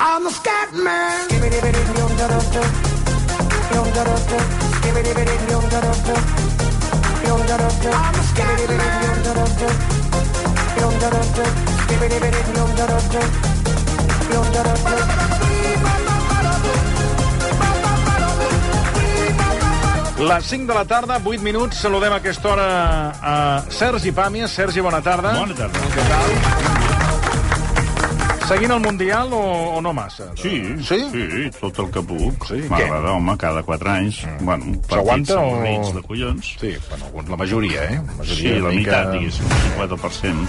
I'm a scat man. I'm a scat man. Les 5 de la tarda, 8 minuts. Saludem a aquesta hora a Sergi Pàmies. Sergi, bona tarda. Bona tarda. Seguint el Mundial o, o no massa? Sí, Sí? sí, tot el que puc. Sí, Mm. M'agrada, home, cada 4 anys. Bueno, partits S'aguanta o- avorrits de collons. Sí, bueno, alguns, la majoria, eh? La majoria Sí, la una mica- meitat, diguéssim, un 50%.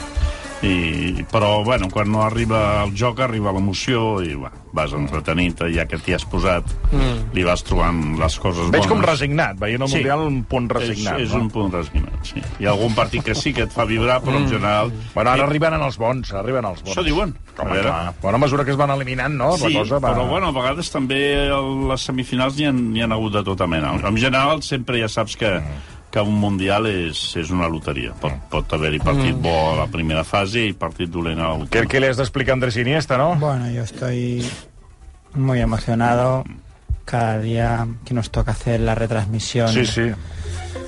I, però, bueno, quan no arriba el joc, arriba l'emoció i va, vas entretenint-te, ja que t'hi has posat, mm. li vas trobant les coses Veig bones. com resignat, veient el Sí. Mundial un punt resignat. És, és no? un punt resignat, sí. Hi ha algun partit que sí que et fa vibrar, però en general... Mm. Bueno, ara arriben en els bons, arriben els bons. Això diuen. Home, A veure. clar. Però a mesura que es van eliminant, no? Sí, la cosa va... però bueno, a vegades també a les semifinals n'hi ha, n'hi ha hagut de tota mena. En general, sempre ja saps que, que un Mundial és, és una loteria. Pot, Mm. pot haver-hi partit bo a la primera fase i partit dolent a l'última. ¿Qué, ¿Qué le has de explicar a Andrés Iniesta, no? Bueno, yo estoy muy emocionado. Cada día que nos toca hacer la retransmisión, Sí, sí.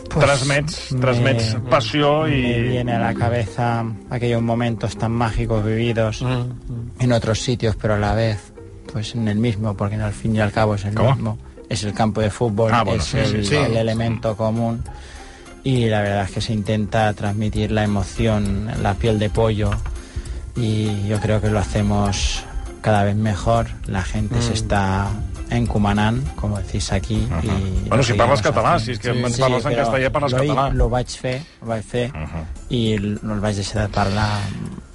pues, transmets, me- transmets passió i... me viene a la cabeza aquellos momentos tan mágicos vividos en otros sitios, pero a la vez, pues en el mismo, porque al fin y al cabo es el ¿Cómo? mismo. Es el campo de fútbol, Ah, bueno, es sí, el, sí, sí. el elemento común. Y la verdad es que se intenta transmitir la emoción, la piel de pollo. Y yo creo que lo hacemos cada vez mejor. La gente Mm. se está en Cumanán, como decís aquí. y Bueno, lo si parles seguimos català, haciendo. si és que ens parles en però castellà, parles lo he- català. Lo vaig fer, ho vaig fer, i no el vaig deixar de parlar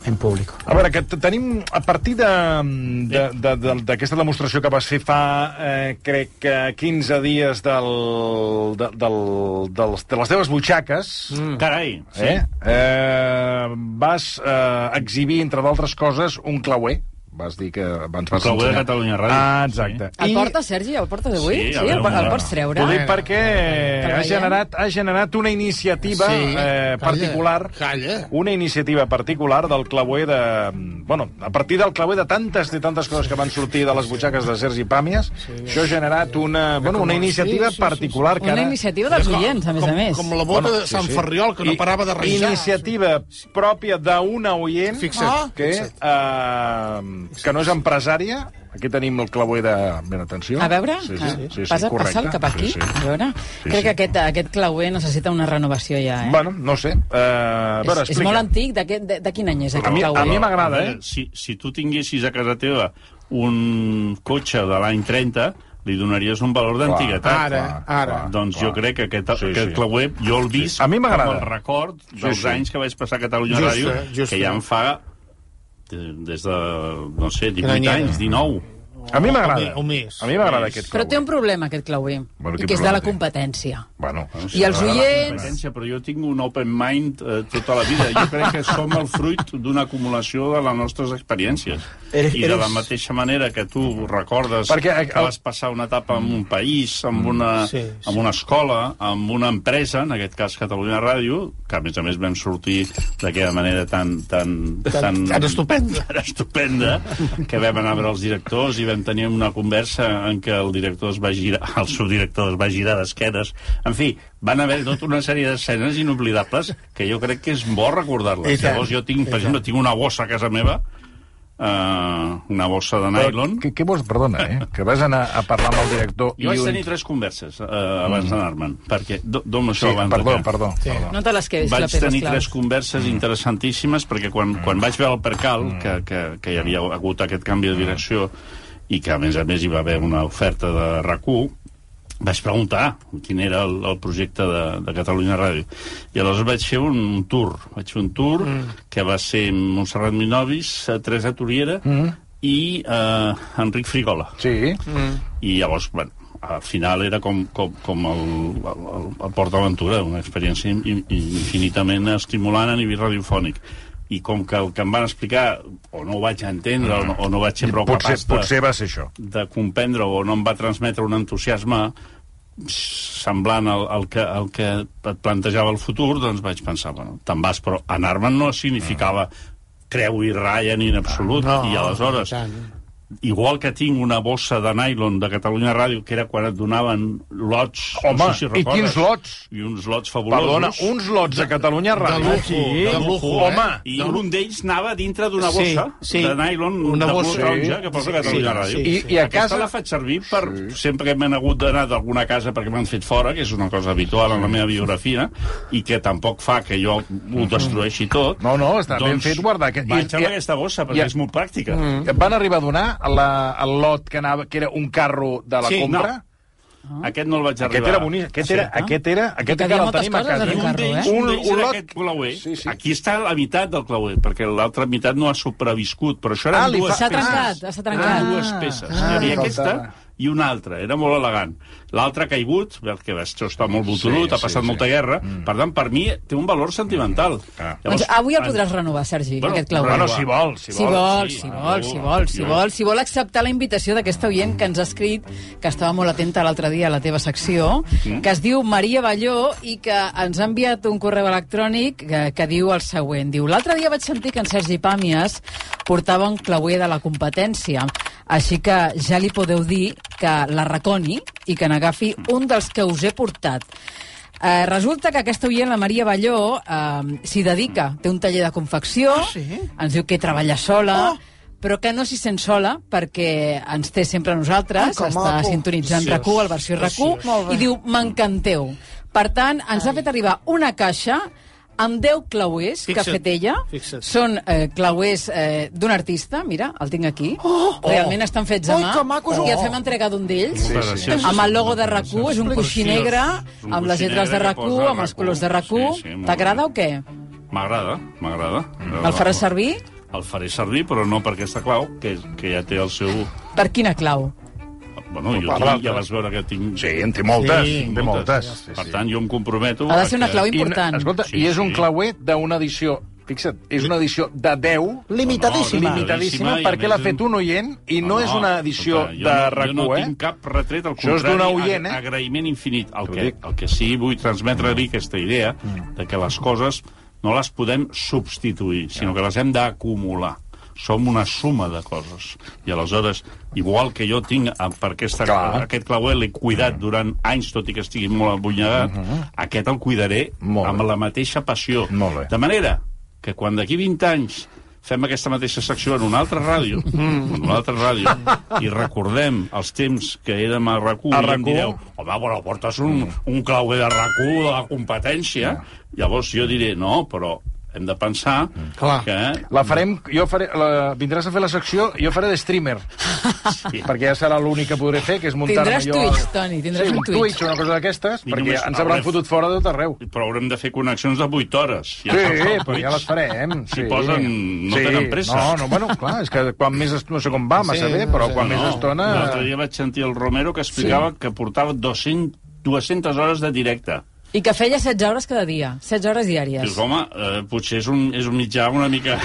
en públic. A veure, que t- tenim, a partir d'aquesta de, de, de, d'aquesta demostració que vas fer fa, eh, crec que 15 dies del, de, del, dels, de les teves butxaques, mm. Carai, sí. eh? eh, vas eh, exhibir, entre d'altres coses, un clauer. Vas dir que abans vas clauer ensenyar. de Catalunya Ràdio. Ah, exacte. El portes, Sergi? El portes avui? Sí, a el, veure, el pots treure? Eh, Ho dic perquè Que ha veiem. generat, ha generat una iniciativa Sí, eh, calla, particular, calla. una iniciativa particular del clauer de... Bueno, a partir del clauer de tantes i tantes coses que van sortir de les butxaques de Sergi Pàmies, això ha generat una, bueno, una iniciativa sí, sí, sí. particular que Una ara... iniciativa dels oients, a més com, a més. Com la bota Bueno, bueno, de sí, Sant sí. sí, Ferriol, que no I- parava de rejar. Iniciativa pròpia d'una oient Fixa't. Ah, que, eh, que no és empresària. Aquí tenim el clauer de... Ben, atenció. A veure, Sí, Ah, sí, sí, sí, passa, correcte. passa el cap aquí, Sí, sí. a veure. Sí, Crec sí. que aquest, aquest clauer necessita una renovació ja, eh? Bueno, no sé. Uh, a és, veure, és explica. molt antic, de, què- de, de quin any és A aquest mi- a clauer? mi m'agrada, Però, eh? Si, si tu tinguessis a casa teva un cotxe de l'any 30, li donaries un valor d'antiguitat. Ara, ara. Doncs jo crec que aquest, Sí, sí, aquest sí. sí. clauer jo el visc Sí. A mi m'agrada. com el record dels sí, sí. sí. anys que vaig passar a Catalunya Just, Ràdio, eh, just, que ja eh. em fa eh, des de, no sé, 18 Granyera. anys, 19. A mi m'agrada. O més. A mi m'agrada O aquest Però clauer. té un problema, aquest clauer, Bueno, i quin que és de problema la té? competència. Bueno, I els oients... competència, però jo tinc un open mind eh, tota la vida. Jo crec que som el fruit d'una acumulació de les nostres experiències. Eres- I de la eres- mateixa manera que tu recordes Perquè, eh, que vas passar una etapa en un país, amb una, Mm. Sí, sí. amb una escola, amb una empresa, en aquest cas Catalunya Ràdio, que a més a més vam sortir d'aquella manera tan... tan, tan, tan estupenda. Tan estupenda, que vam anar a veure els directors i vam tenir una conversa en què el director es va girar, el subdirector es va girar d'esquenes. En fi, van haver tota una sèrie d'escenes inoblidables que jo crec que és bo I recordar-les. tant. Llavors jo tinc, per exemple, tinc una bossa a casa meva, eh, una bossa de nylon, Què, què vols? Perdona, eh? Que vas anar a parlar amb el director jo i vaig un... Mm. tenir tres converses eh, abans d'anar-me'n, perquè... do- Dóna'm Sí, això abans de Mm. perdó, que- perdó. Mm. Sí. perdó. No te les quedis, la Vaig pedra tenir esclau. tres converses interessantíssimes perquè quan, Mm. quan vaig veure el percal que, que, que hi havia hagut aquest canvi Mm. de direcció i que a més a més hi va haver una oferta de rac vaig preguntar quin era el, el projecte de, de Catalunya Ràdio. I aleshores vaig fer un, un tour. Vaig fer un tour mm. que va ser Montserrat Minovis, eh, Teresa Turiera mm. i eh, Enric Frigola Sí. i llavors, bueno, al final era com, com, com el, el, el, el Port Aventura, una experiència in, in- infinitament estimulant a nivell radiofònic i com que el que em van explicar o no ho vaig entendre o, no, o no vaig ser prou Potser, capaç de, potser va ser això. de comprendre o no em va transmetre un entusiasme semblant al, al, que, al que et plantejava el futur, doncs vaig pensar, bueno, te'n vas, però anar-me'n no Ah. significava creu i ratlla ni en absolut, No, i aleshores i eh. tant. igual que tinc una bossa de nylon de Catalunya Ràdio, que era quan et donaven lots, Home, no sé si i recordes. quins lots? I uns lots fabulosos. Perdona, uns lots a Catalunya Ràdio. lujo, de lujo, eh? Home, I un d'ells anava dintre d'una Sí, bossa sí. de nylon, Una de bossa. bossa taronja, que posa Catalunya sí, Ràdio. sí, I- sí. i a Aquesta casa- la faig servir per... Sempre que m'he hagut d'anar d'alguna casa perquè m'han fet fora, que és una cosa habitual en la meva biografia, i que tampoc fa que jo ho destrueixi tot. doncs No, no, està ben fet guardar aquest- Vaig i- amb aquesta bossa, perquè i- Mm. és molt pràctica. Et van arribar a donar la, el lot que, anava, que era un carro de la Sí, compra? no. Aquest no el vaig arribar. Aquest era bonic, aquest, era, aquest, era, aquest Hi havia encara el moltes tenim a coses casa. en I un un carro, d'ells eh? Un un d'ells era olot- aquest clauer. Sí, sí. Aquí està la meitat del clauer, perquè l'altra meitat no ha sobreviscut, però això Ah, eren li dues fa- S'ha peces. trencat, s'ha trencat. Eren dues peces. Ah, Hi havia li aquesta faltava. i una altra, era molt elegant. L'altra ha caigut, perquè això està molt botolut, Sí, ha passat sí, Mm. Ah. sí. molta guerra, per tant, per mi té un valor sentimental. clar. Doncs avui el podràs renovar, Sergi, Bueno, aquest clauer. Bueno, si vol, si Si vol. vol, sí, si va, vol, va, si va, vol, si jo- vol, si vol acceptar la invitació d'aquesta oient que ens ha escrit, que estava molt atenta l'altre dia a la teva secció, que es diu Maria Balló i que ens ha enviat un correu electrònic que, que diu el següent. Diu, l'altre dia vaig sentir que en Sergi Pàmies portava un clauer de la competència, així que ja li podeu dir que la reconi i que n'agafi un dels que us he portat. Eh, resulta que aquesta oient, la Maria Balló, eh, s'hi dedica. Té un taller de confecció, sí? ens diu que treballa sola, però que no s'hi sent sola perquè ens té sempre a nosaltres, que està maco. sintonitzant Preciós, RAC1, el versió Molt RAC1, bé. i diu, m'encanteu. Per tant, ens ha fet arribar una caixa amb 10 clauers que ha Fixa't, fet ella. fixa't. Són eh, clauers eh, d'un artista, mira, el tinc aquí. Oh! Realment estan fets a Ui, mà. que Oh. maco, és un- I et fem entregar d'un d'ells Sí, sí. amb el logo de rac és un coixí Preciós. negre, És un amb les coixí lletres de negre rac que posa amb els RAC1. colors de rac Sí, sí, molt bé. T'agrada o què? M'agrada, m'agrada. Mm. El faràs servir? El faré servir, però no per aquesta clau, que, que ja té el seu... Per quina clau? Bueno, jo per tinc, l'altra. ja vas veure que tinc... Sí, en té moltes, Sí, en té moltes. Sí, Per sí. tant, jo em comprometo... Ha de ser a una que- clau I, important. escolta, Sí, i és un sí. clauer d'una edició, fixa't, és una edició de 10, Limitadíssima. No, no, limitadíssima, i a perquè més l'ha és fet un- un oient i no, és una edició escolta, de jo, no- rac Jo no eh? tinc cap retret, al Això és contrari, d'una oient, ag- eh? agraïment infinit. El T'ho que, dic. el que sí, vull transmetre-li aquesta idea de que les coses no les podem substituir, sinó que les hem d'acumular. Som una suma de coses. I aleshores, igual que jo tinc eh, per aquesta, Clar. Mm. aquest clauer l'he cuidat durant anys, tot i que estigui molt abunyagat, aquest el cuidaré Mm-hmm. Molt amb bé. la mateixa passió. Molt bé. De manera que quan d'aquí 20 anys fem aquesta mateixa secció en una altra ràdio, Mm. en una altra ràdio, i recordem els temps que érem a RAC1, A i em RAC1? direu, home, però portes un, un clauer de RAC1 de la competència, llavors jo diré, no, però hem de pensar Mm. Clar. que... La farem, jo faré, la, vindràs a fer la secció, jo faré de streamer, Sí. perquè ja serà l'únic que podré fer, que és muntar-me Tindràs jo... Twitch, Toni, tindràs sí, un Twitch. Twitch o una cosa d'aquestes, I perquè només ens hauran hauré- fotut fora de tot arreu. Però haurem de fer connexions de 8 hores. Ja sí, però ja les farem. Si sí. posen, no sí. tenen pressa. No, no, bueno, clar, és que quan més... est- No sé com va, massa Sí, bé, no però sé. quan més estona... L'altre dia vaig sentir el Romero que explicava sí. que portava 200, 200 hores de directe. I que feia 16 hores cada dia, 16 hores diàries. Dius, home, eh, potser és un, és un mitjà una mica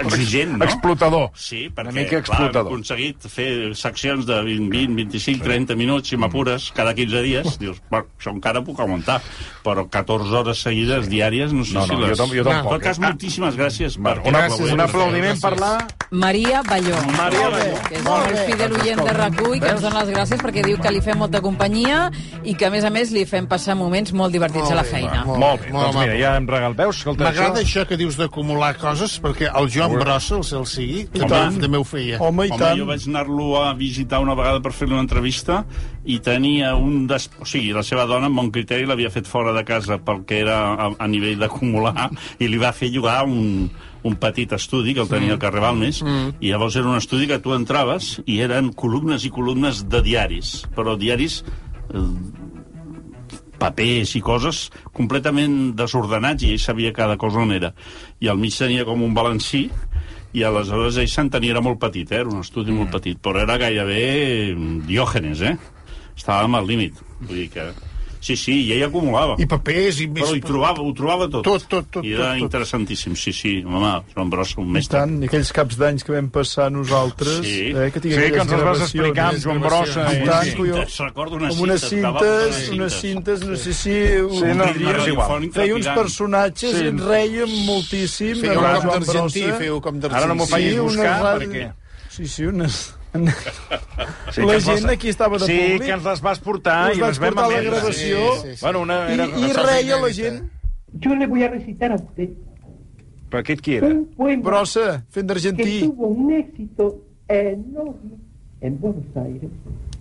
exigent, no? Explotador. Sí, perquè Una mica clar, hem explotador. aconseguit fer seccions de 20, 20 25, 30 minuts, si m'apures, Mm. cada 15 dies. Dius, bueno, això encara puc aguantar, però 14 hores seguides diàries no sé No, si no, les... jo tam- jo En tampoc. eh? tot cas, moltíssimes gràcies Bueno, per un, aquest un aplaudiment per la... Maria Balló. Maria Balló. Que és el més fidel Doncs oient de rac i que ens dona les gràcies perquè diu que li fem molta companyia i que, a més a més, li fem passar moments molt divertits a la feina. Molt bé, doncs mira, maco. ja hem regal veus. escolta, M'agrada això que dius d'acumular coses, perquè el Joan Brossa, el cel sigui, que també, també ho feia. Home, i Home, tant. jo vaig anar-lo a visitar una vegada per fer-li una entrevista i tenia un... Des... O sigui, la seva dona, amb bon criteri, l'havia fet fora de casa pel que era a, a nivell d'acumular i li va fer llogar un, un petit estudi que el tenia al carrer Balmes mm. i llavors era un estudi que tu entraves i eren columnes i columnes de diaris, però diaris eh, papers i coses completament desordenats i ell sabia cada cosa on era. I al mig tenia com un balancí i aleshores ell s'entenia, era molt petit, eh? era un estudi mm. molt mm, petit, però era gairebé diògenes, eh? Estàvem al límit. Vull dir que... Sí, sí, i ell acumulava. I papers, i més... Però hi trobava, ho trobava tot. Tot, tot, tot, I era tot, tot. interessantíssim, sí, sí. Home, Joan Brossa, un I mestre. tant, i aquells caps d'anys que vam passar nosaltres, Sí. eh, que Sí, tinguem que ens les vas gravacions. explicar amb Joan Brossa. I i- tant, sí. collons. Cintes, recordo unes amb unes cintes, davant cintes, d'unes unes cintes. cintes, no sé si... Sí, no, un- no, és igual. Feia uns personatges, Sí. sí. reien moltíssim. Fèieu amb com Joan d'argentí, Brossa. fèieu com d'argentí. Ara no m'ho facis unes buscar, radi- perquè- Sí, sí, unes... Sí, que la ens les- gent aquí estava de sí, públic. que ens les vas portar Us i vas les vam portar la emetre. gravació. Sí, sí, sí. Bueno, una, era, eh? I, i reia la gent. Yo le voy a recitar a usted Però aquest qui era? un poema Brossa, fent que d'argentí. tuvo un éxito enorme en Buenos Aires.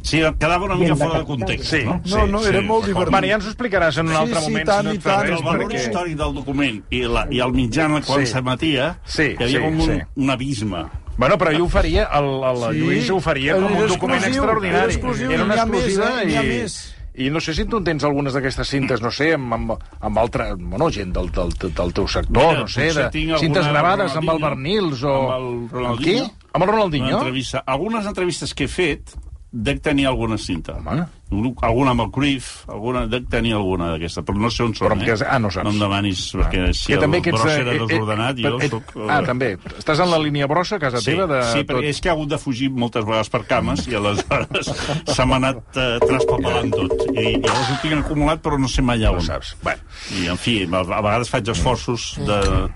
Sí, quedava una mica fora de context. Sí. No, no, era molt divertit. Bueno, ja ens ho explicaràs en un Sí, altre sí, moment, tant si no i et fa tant, Però res, el valor perquè... històric del document i, la, i el mitjà quan Sí. s'emetia Sí, hi havia sí, com un, sí. un abisme. Bueno, però ell ho faria, el, el sí. Lluís ho faria com Era un document exclusiu, extraordinari. era exclusiu, una n'hi ha més, exclusiva eh? N'hi ha i, més. I no sé si tu en tens algunes d'aquestes cintes, no sé, amb, amb, amb altra, bueno, gent del, del, del teu sector, Mira, no sé, potser de, tinc alguna cintes del gravades amb el Ronaldinho. Bernils o... Amb el Ronaldinho. Amb qui? Amb el Una Ronaldinho? entrevista. Algunes entrevistes que he fet dec tenir alguna cinta. Home. Un- Alguna amb el Cruyff, alguna, dec tenir alguna d'aquesta, però no sé on són. Però amb eh? què- ah, no saps. No em demanis, perquè si Que el també que ets, Brossa era eh, eh, desordenat, jo eh, eh, sóc... Ah, també. Estàs en la línia brossa a casa Sí, teva? De, sí perquè és que ha hagut de fugir moltes vegades per cames i aleshores s'ha anat eh, traspapelant tot. I llavors ho tinc acumulat però no sé mai on. No saps. Bueno. I, en fi, a a vegades faig esforços de...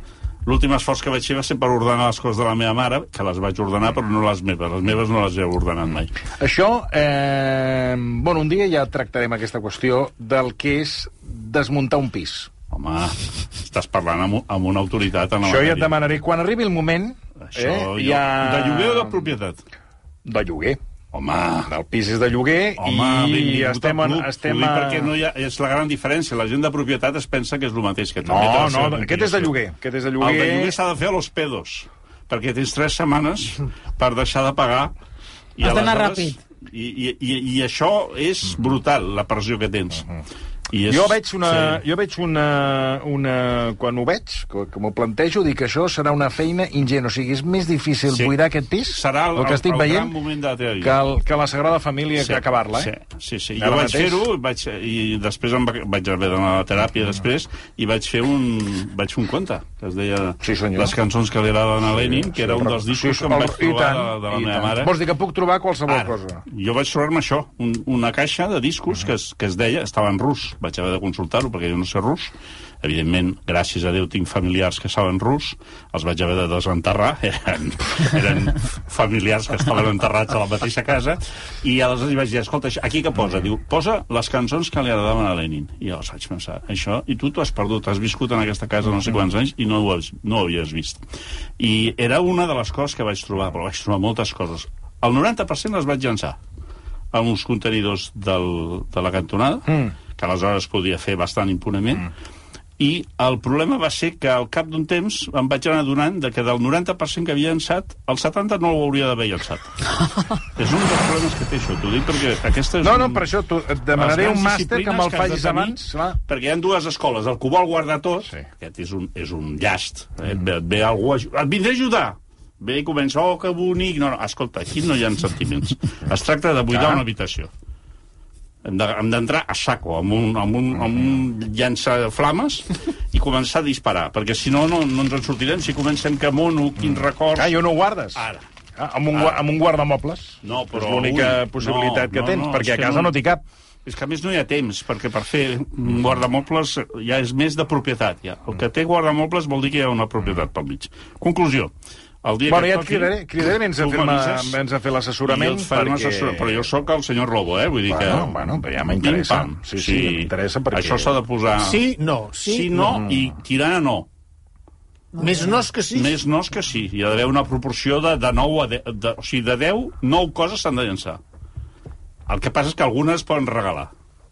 L'últim esforç que vaig fer va ser per ordenar les coses de la meva mare, que les vaig ordenar, però no les meves. Les meves no les he ordenat mai. Això, eh, bueno, un dia ja tractarem aquesta qüestió del que és desmuntar un pis. Home, estàs parlant amb, amb una autoritat en la Això ja et matèria. demanaré. Quan arribi el moment... Això, eh, jo... De lloguer o de propietat? De lloguer. Home, El pis és de lloguer Home, i benvingut estem... al En, club. estem Ho dic a- perquè no hi ha, és la gran diferència. La gent de propietat es pensa que és el mateix. Que No, també té la no, aquest és seva de complicació. lloguer. Aquest és de El lloguer... de lloguer s'ha de fer a los pedos, perquè tens tres setmanes per deixar de pagar. I Has d'anar aleshores- I, i, i, I això és brutal, la pressió que tens. I Mhm. Jo veig una... Jo veig una, una quan ho veig, que, que m'ho plantejo, dic que això serà una feina ingent. O sigui, és més difícil Sí. buidar aquest pis, Serà el- el que estic el- el veient, gran moment de la teva vida. que, el, que la Sagrada Família sí. que acabar-la, eh? Sí, sí, sí. Ara Jo vaig mateix- fer-ho vaig, i després em va, vaig haver d'anar a la teràpia després i vaig fer un, vaig fer un conte que es deia Sí, senyor. Les cançons que li agraden a Lenin, que era un dels discos que em vaig I trobar tant, de, de la i meva tant. mare. Vols dir que puc trobar qualsevol Ara, cosa? Ah. jo vaig trobar-me això, un, una caixa de discos que es, que es deia, estava en rus, vaig haver de consultar-ho perquè jo no sé rus, evidentment, gràcies a Déu tinc familiars que saben rus, els vaig haver de desenterrar, eren, eren familiars que estaven enterrats a la mateixa casa, i aleshores vaig dir, escolta, això- aquí què posa? Diu, posa les cançons que li agradaven a Lenin. I jo els vaig pensar, això, i tu t'ho has perdut, has viscut en aquesta casa no Mm. sé quants anys i no ho, has, no ho havies vist. I era una de les coses que vaig trobar, però vaig trobar moltes coses el 90% les vaig llançar a uns contenidors del, de la cantonada, mm. que aleshores podia fer bastant impunement, mm. i el problema va ser que al cap d'un temps em vaig anar adonant de que del 90% que havia llançat, el 70% no ho hauria d'haver llançat. és un dels problemes que té això, t'ho dic perquè aquesta és... No, no, un- per això tu, et demanaré les grans un màster que disciplines me'l has de facis tenir, abans. Clar. Perquè hi ha dues escoles, el que ho vol guardar tot, Sí. Mm. sí. aquest és un, és un llast, eh, et, ve, et ve algú a, aju- et vindré a ajudar, ve i comença, oh, que bonic, no, no, escolta, aquí no hi ha sentiments, es tracta de buidar Clar. una habitació. Hem de- hem d'entrar a saco, amb un, amb un, amb un Mm. llançaflames i començar a disparar, perquè si no, no, no ens en sortirem. Si comencem que mono, quins records... Ah, i on ho guardes? Ara. Ah, amb, un, gua- amb un guardamobles? No, però, És l'única ui, possibilitat no, que no, tens, no, perquè és a que casa no- no, t'hi cap. És que a més no hi ha temps, perquè per fer un guardamobles ja és més de propietat. Ja. El que té guardamobles vol dir que hi ha una propietat pel mig. Conclusió. El dia Bueno, que ja et toqui, cridaré, cridaré vens a tu fer-me m'avises vens a fer i jo l'assessorament. et faré un assessor- Però jo sóc el senyor Lobo, eh? Vull dir que... Bueno, bueno, però ja m'interessa. Pim, pam. Sí, sí, m'interessa perquè- Mm. Això s'ha de posar... Sí, no. sí, Sí, sí no, no, i tirant a no. Més nos que sí. Més nos que sí. Hi ha d'haver una proporció de, de 9 a 10... De, o sigui, de 10, 9 coses s'han de llançar. El que passa és que algunes poden regalar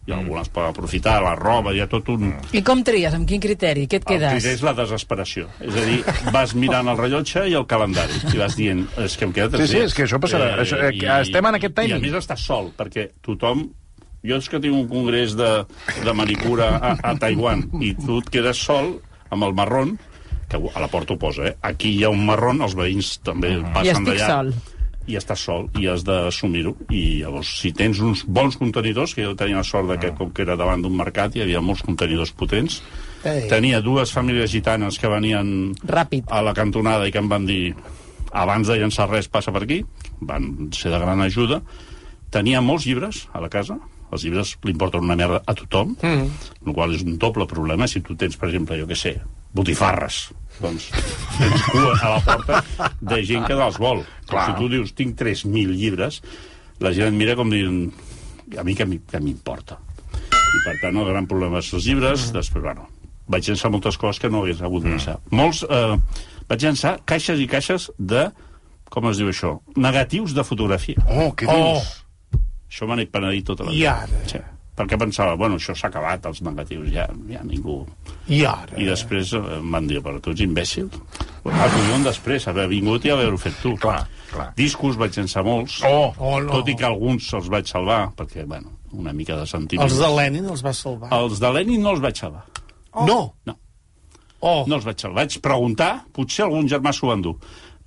i algunes poden aprofitar, la roba, hi ha tot un... I com tries? Amb quin criteri? Què et El quedes? criteri és la desesperació. És a dir, vas mirant el rellotge i el calendari i vas dient, és que em queda tres Sí, sí, és que això passarà. Això, eh, que estem en aquest I timing. a més estàs sol, perquè tothom... Jo és que tinc un congrés de, de manicura a, a Taiwan i tu et quedes sol amb el marrón, que a la porta ho posa, eh? Aquí hi ha un marrón, els veïns també Ah. I passen estic d'allà. sol. i estàs sol i has d'assumir-ho. I llavors, si tens uns bons contenidors, que jo tenia la sort de que, com que era davant d'un mercat, hi havia molts contenidors potents, Ei. tenia dues famílies gitanes que venien Ràpid. a la cantonada i que em van dir abans de llançar res passa per aquí van ser de gran ajuda tenia molts llibres a la casa els llibres li importen una merda a tothom mm. el qual és un doble problema si tu tens, per exemple, jo que sé botifarres doncs tens cua a la porta de gent que dels vol Clar. si tu dius tinc 3.000 llibres la gent et mira com dient a mi que mi- que m'importa i per tant el gran problema és els llibres mm. després, bueno, vaig llançar moltes coses que no hagués Mm. hagut de llançar molts, eh, vaig llançar caixes i caixes de com es diu això? Negatius de fotografia. Oh, què dius? Això me n'he penedit tota la I ara? Sí. Perquè pensava, bueno, això s'ha acabat, els negatius, ja, ja ningú... I ara? I després eh, em van dir, però tu ets imbècil. Ah, collons, després, haver vingut i haver-ho fet tu. Clar, clar. Discos vaig llançar molts, Oh, Oh, no. tot i que alguns els vaig salvar, perquè, bueno, una mica de sentiment. Els de Lenin els va salvar. Els de Lenin no els vaig salvar. Oh. No. No. Oh. No els vaig salvar. Vaig preguntar, potser algun germà s'ho va endur,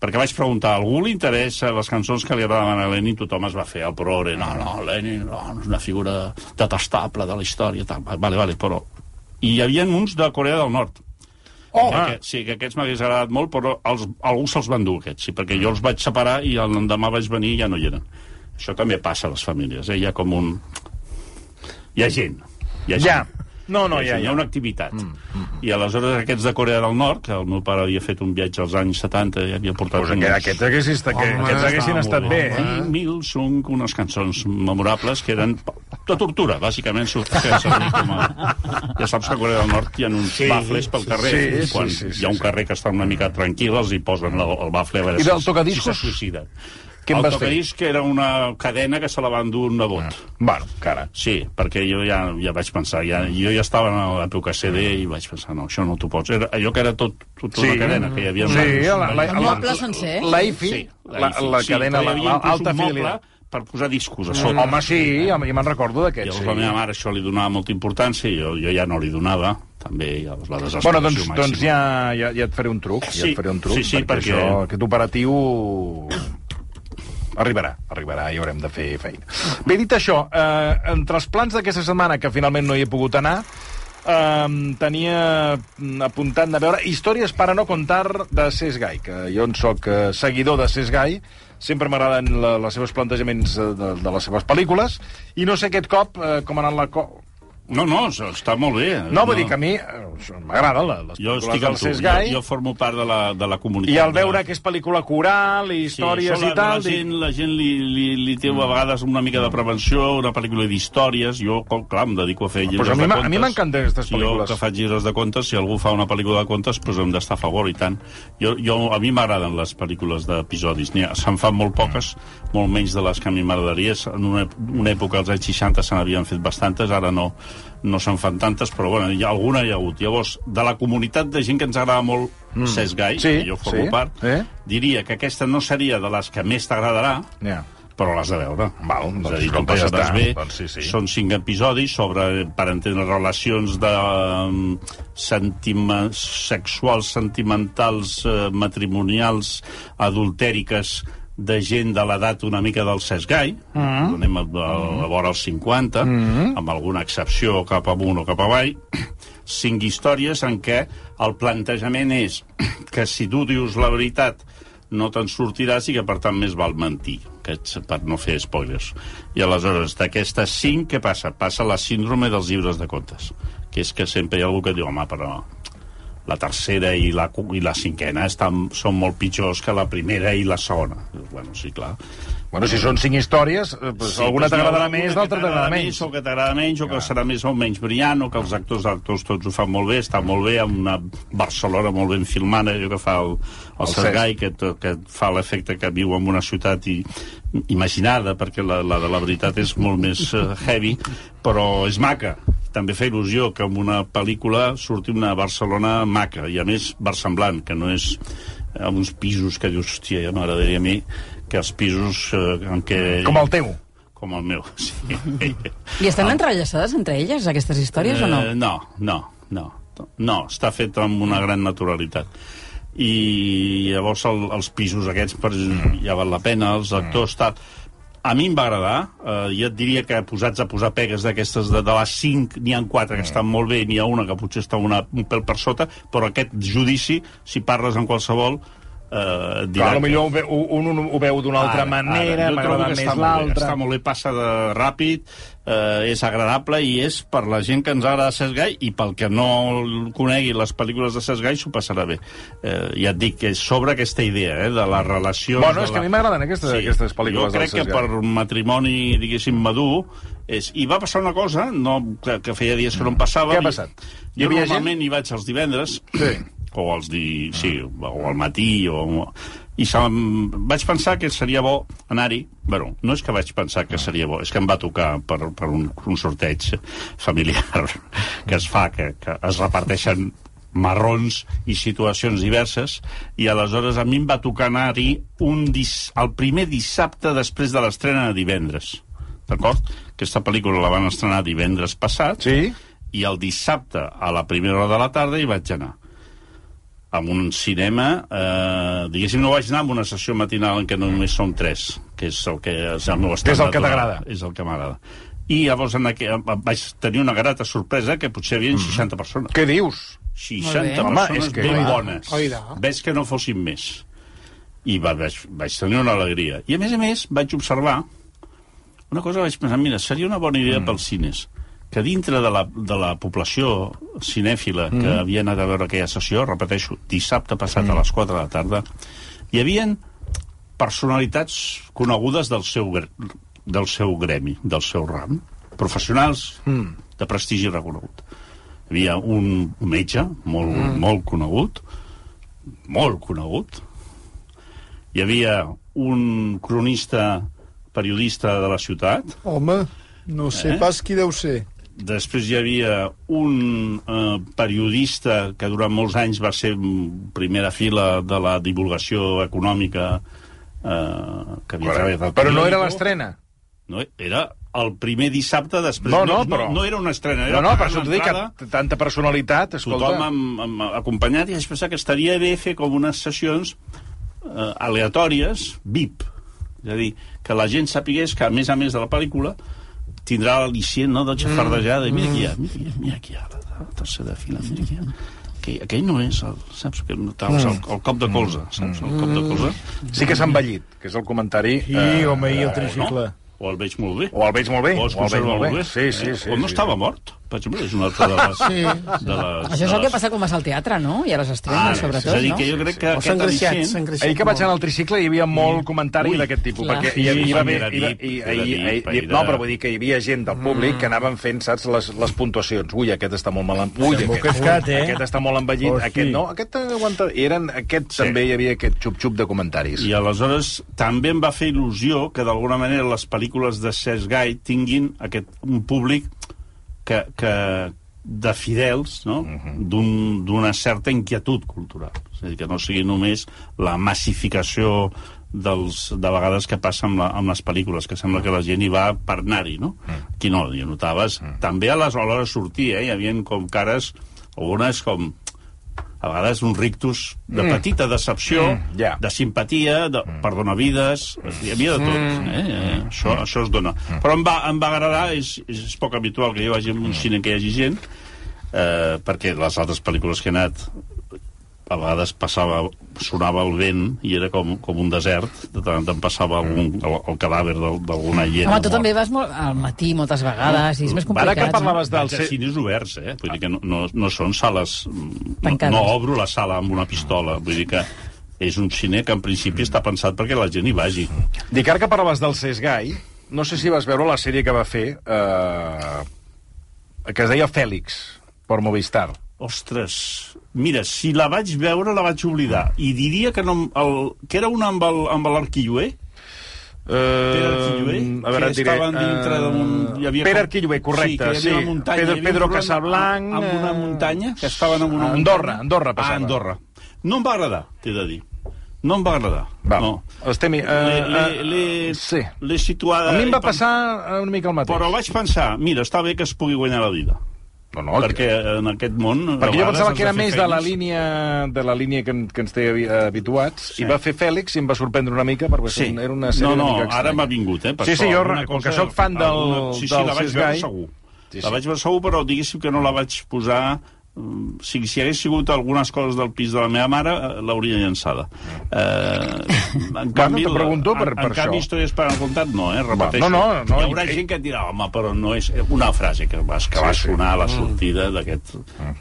perquè vaig preguntar, a algú li interessa les cançons que li agradaven a Lenin? Tothom es va fer el prore, no, no, Lenin no, és una figura detestable de la història, tal. Vale, vale, però... I hi havia uns de Corea del Nord. Oh. que, que, sí, que aquests m'hagués agradat molt, però els, algú se'ls va endur, aquests, sí, perquè jo els vaig separar i l'endemà vaig venir i ja no hi eren. Això també passa a les famílies, eh? Hi ha com un... Hi ha gent. Hi ha gent. Ja. No, no, És ja, a dir, Hi ja. ha una activitat. Mm, mm, I aleshores aquests de Corea del Nord, que el meu pare havia fet un viatge als anys 70 i havia portat... Pues que aquests haguessin, que, Home, aquests haguessin està estat molt bé. bé. eh? I mil són unes cançons memorables que eren de tortura, bàsicament s'ho feia servir com a... Ja saps que a Corea del Nord hi ha uns sí, bafles pel carrer. sí, i sí, quan sí, sí, hi ha un sí. carrer que està una mica tranquil, els hi posen el, el bafle a veure I del si- tocadiscos? si se suïcida. Què en el vas fer? tocadisc era una cadena que se la va endur un nebot. Ah, Bueno, cara. Sí, perquè jo ja, ja vaig pensar, ja, jo ja estava en l'època CD i vaig pensar, no, això no t'ho pots. Era, allò que era tot, tot Sí. una cadena, que hi havia... Sí, la, la, la, El moble sencer? La IFI, la, la cadena, però hi havia inclús l'alta un moble fidelitat. per posar discos a sota. Home, sí, ja me'n recordo I d'aquest, llavors sí. sí. la meva mare això li donava molta importància i jo, jo ja no li donava, també llavors la desesperació Bueno, doncs, màxima. doncs ja, ja, ja et faré un truc, ja Sí, et faré un truc, sí, sí, perquè, perquè- Això, aquest operatiu arribarà, arribarà i haurem de fer feina. Bé, dit això, eh, entre els plans d'aquesta setmana, que finalment no hi he pogut anar, eh, tenia mm, apuntat de veure Històries para no contar de Cesc Gai, que jo en sóc eh, seguidor de Cesc Gai, sempre m'agraden la, les seves plantejaments eh, de, de les seves pel·lícules, i no sé aquest cop eh, com ha anat la... Co No, no, s- està molt bé. no, vull dir que a mi eh, m'agraden la- les Jo pel·lícules estic del amb tu, Cesc jo, Gai. jo formo part de la, de la comunitat. I al de- veure que és pel·lícula coral i Sí, històries això i tal... La dic, gent, la gent li, li, li té a vegades una mica de prevenció, una pel·lícula d'històries. Jo, com, clar, em dedico a fer llibres Pues a mi de m'a- a contes. mi m'encanten aquestes pel·lícules. Jo que faig llibres de contes, si algú fa una pel·lícula de contes, doncs hem d'estar a favor, i tant. Jo, jo, a mi m'agraden les pel·lícules d'episodis. N'hi ha- Se'n fan molt poques, molt menys de les que a mi m'agradaria. En una, una època, als anys 60, se n'havien fet bastantes, ara no no se'n fan tantes, però bueno, hi ha, alguna hi ha hagut. Llavors, de la comunitat de gent que ens agrada molt mm. Cesc Gai, Sí, que jo formo sí, part, eh? diria que aquesta no seria de les que més t'agradarà, Ja. però l'has de veure. Val, És doncs, a dir, com t'ho ja passes està, bé. doncs sí, sí. Són cinc episodis sobre, per entendre relacions de, um, sentima, sexuals, sentimentals, eh, matrimonials, adultèriques, de gent de l'edat una mica del Cesc Gai, mm -hmm. anem a, a, a vora els 50, mm -hmm. amb alguna excepció cap amunt o cap avall, cinc històries en què el plantejament és que si tu dius la veritat no te'n sortiràs i que, per tant, més val mentir, que ets- per no fer spoilers. I aleshores, d'aquestes cinc, què passa? Passa la síndrome dels llibres de contes, que és que sempre hi ha algú que diu, home, però la tercera i la, cu- i la cinquena estan, són molt pitjors que la primera i la segona. Dius, Bueno, sí, clar. Bueno, si són cinc històries, eh, pues, sí, alguna doncs hi ha t'agradarà alguna més, que l'altra t'agradarà més, menys. O que t'agrada menys, o que serà més o menys brillant, o que els actors actors tots ho fan molt bé, està molt bé, amb una Barcelona molt ben filmada, allò que fa el, el, El el Sergai, que, to- que fa l'efecte que viu en una ciutat i, imaginada, perquè la, la de la veritat és molt més eh, heavy, però és maca. També fa il·lusió que en una pel·lícula surti una Barcelona maca, i a més versemblant, que no és eh, amb uns pisos que dius, hòstia, ja m'agradaria a mi que els pisos eh, en què... Com el teu. Com el meu, sí. I Ah. estan entrellaçades entre elles, aquestes històries, o no? Eh, no, no, no. No, està fet amb una gran naturalitat. i llavors el, els pisos aquests per, ja val la pena, els actors, tal. A mi em va agradar, eh, jo et diria que posats a posar pegues d'aquestes de, de les 5, n'hi ha 4 que estan molt bé i n'hi ha una que potser està una, un pèl per sota, però aquest judici, si parles amb qualsevol, eh, et dirà Clar, que- potser ho ve- un, un ho veu d'una altra manera, jo trobo m'agrada que més està molt bé, l'altra... Està molt bé, passa de ràpid, eh, és agradable i és per la gent que ens agrada Cesc Gai i pel que no el conegui les pel·lícules de Cesc Gai s'ho passarà bé. Eh, ja et dic que és sobre aquesta idea, eh, de les relacions... Bueno, de és que la- a mi m'agraden aquestes- aquestes pel·lícules Jo del crec que Cesc Gai. per un matrimoni, diguéssim, madur, és... i va passar una cosa no, que, que feia dies que no em passava. Què ha I- passat? Hi Jo havia gent? normalment hi vaig els divendres, sí. o els di... sí, o al matí, o... I se'm... vaig pensar que seria bo anar-hi. Bueno, no és que vaig pensar que seria bo, és que em va tocar per, per un, un sorteig familiar que es fa, que, que es reparteixen marrons i situacions diverses i aleshores a mi em va tocar anar-hi un dis... el primer dissabte després de l'estrena de divendres d'acord? Aquesta pel·lícula la van estrenar divendres passat Sí? i el dissabte a la primera hora de la tarda hi vaig anar amb un cinema, eh, diguéssim, no vaig anar amb una sessió matinal en què només són tres, que és el que és el meu estat És el que natural. t'agrada. És el que m'agrada. I llavors en aqu... vaig tenir una grata sorpresa que potser hi havia Mm. 60 persones. Què dius? 60 Molt bé. Home, persones és que- ben Oirà. bones. Oirà. Ves que no fossin més. I va, vaig, vaig tenir una alegria. I a més a més vaig observar una cosa vaig pensar, mira, seria una bona idea mm. pels cines que dintre de la, de la població cinèfila mm. que havia anat a veure aquella sessió, repeteixo, dissabte passat mm. a les 4 de la tarda, hi havien personalitats conegudes del seu, gre- del seu gremi, del seu ram, professionals mm. de prestigi reconegut. Hi havia un metge molt, mm. molt conegut, molt conegut, hi havia un cronista periodista de la ciutat, Home, no sé Eh? pas qui deu ser. Després hi havia un eh, periodista que durant molts anys va ser mm, primera fila de la divulgació econòmica eh, que havia treballat al Però no era periòdico. l'estrena. No, era el primer dissabte després... No, no, però- No, no era una estrena, No, era no, per pagar això una t'ho dic, entrada que t- tanta personalitat, escolta... tothom amb, amb acompanyat i vaig pensar que estaria bé fer com unes sessions eh, aleatòries, VIP. És a dir, que la gent sapigués que, a més a més de la pel·lícula, tindrà l'al·licient no, del xafardejada. I mira qui hi ha, mira qui hi ha, mira qui hi ha, la, la tercera fila, mira qui hi ha. Aquell, aquell no és el, saps, que no tal, és el, el cop de colze, Mm. saps, el cop de colze. Sí que s'ha envellit, que és el comentari... I, home, i el tricicle. O el veig molt bé. O el veig molt bé. O es o el veig conserva molt bé. Sí, sí, sí. O Eh, no sí. estava mort. Per exemple, és una altra de les... Sí. De les Això és de el que les- passa com vas al teatre, no? I a les estrenes, Ara, sobretot, és a dir, no? que jo crec que O aquest s'ha engreixat, al·licient- s'ha engreixat. Ahir que vaig anar al tricicle hi havia molt comentari Ui, d'aquest tipus, clar. perquè hi, hi, Sí, va haver... era Hi, va- dit, hi, era hi, dit, hi, hi, era- no, però vull dir que hi havia gent del públic que anaven fent, saps, les, les puntuacions. Ui, aquest està molt mal... en- Ui, aquest, cascat, eh? aquest està molt envellit, Oh, sí. aquest no, aquest aguanta... I eren, aquest també hi havia aquest xup-xup de comentaris. I aleshores també em va fer il·lusió que d'alguna manera les pel·lícules de Cesc Gai tinguin aquest, un públic que, que de fidels, no? D'un- d'una certa inquietud cultural. És a dir, que no sigui només la massificació dels, de vegades que passa amb, la, amb les pel·lícules, que sembla que la gent hi va per anar-hi, no? Aquí no, hi notaves. També a les hores de sortir, eh? Hi havia com cares, algunes com a vegades un rictus de petita decepció, Mm, ja. de simpatia, de mm. perdonavides, hi havia de tot. Mm. Eh? Eh, Això, això es dona. Però em va, em va agradar, és, és és poc habitual que jo vagi a Mm. un cine en què hi hagi gent, eh, perquè les altres pel·lícules que he anat a vegades passava, sonava el vent i era com, com un desert, de tant en tant passava Mm. algun, el, el cadàver del- d'alguna llena. Home, tu també vas molt al matí moltes vegades i és més complicat. Ara que no? parlaves del... dels Vaig a cines oberts, eh? Vull dir que no, no, no són sales... mm, Tancades. No, no obro la sala amb una pistola. Vull dir que és un cine que en principi està pensat perquè la gent hi vagi. Dic, ara que parlaves del Cesc Gai, no sé si vas veure la sèrie que va fer, eh, que es deia Fèlix, per Movistar. Ostres, mira, si la vaig veure la vaig oblidar. I diria que, no, em- el, que era una amb el- eh? amb l'Arquilloé. Pere Arquilloé, Ehm, a veure, que et diré, eh, ehm, estaven dintre d'un... hi havia Pere com- Arquilloé, correcte, sí. Que hi havia sí. una muntanya, Pedro- hi havia un Pedro problema Casablanc, Amb, amb una eh, muntanya, que estaven en una a Andorra, muntanya. Andorra passava. A Andorra. No em va agradar, t'he de dir. No em va agradar. Va, No. estem... hi- L'he- l'he- eh, l'he- sí. L'he situada... A mi em va i pen- passar una mica el mateix. Però vaig pensar, mira, està bé que es pugui guanyar la vida. No, no, perquè en aquest món... a Perquè jo vegades pensava has que era de fer més de la feines- línia de la línia que, en- que ens té habi- habituats, sí. i va fer Fèlix i em va sorprendre una mica, perquè sí. era una sèrie no, no, una mica ara estranya. m'ha vingut, eh? Per sí, sí, això, jo, alguna com cosa- que sóc fan del, alguna- sí, sí, del la vaig Sis veure Guy, Sí, segur. Sí, sí. sí. La vaig veure segur, però diguéssim que no la vaig posar mm, si, si hagués sigut algunes coses del pis de la meva mare, eh, l'hauria llançada. Eh, en canvi, t'ho la- pregunto per- en, per en canvi, això. històries per al comptat, no, eh? Repeteixo. no, no, no, Hi haurà i- gent que et dirà, home, però no és una frase que, vas, que Sí, sí, va sí. Mm. Mm-hmm. sonar a la sortida d'aquest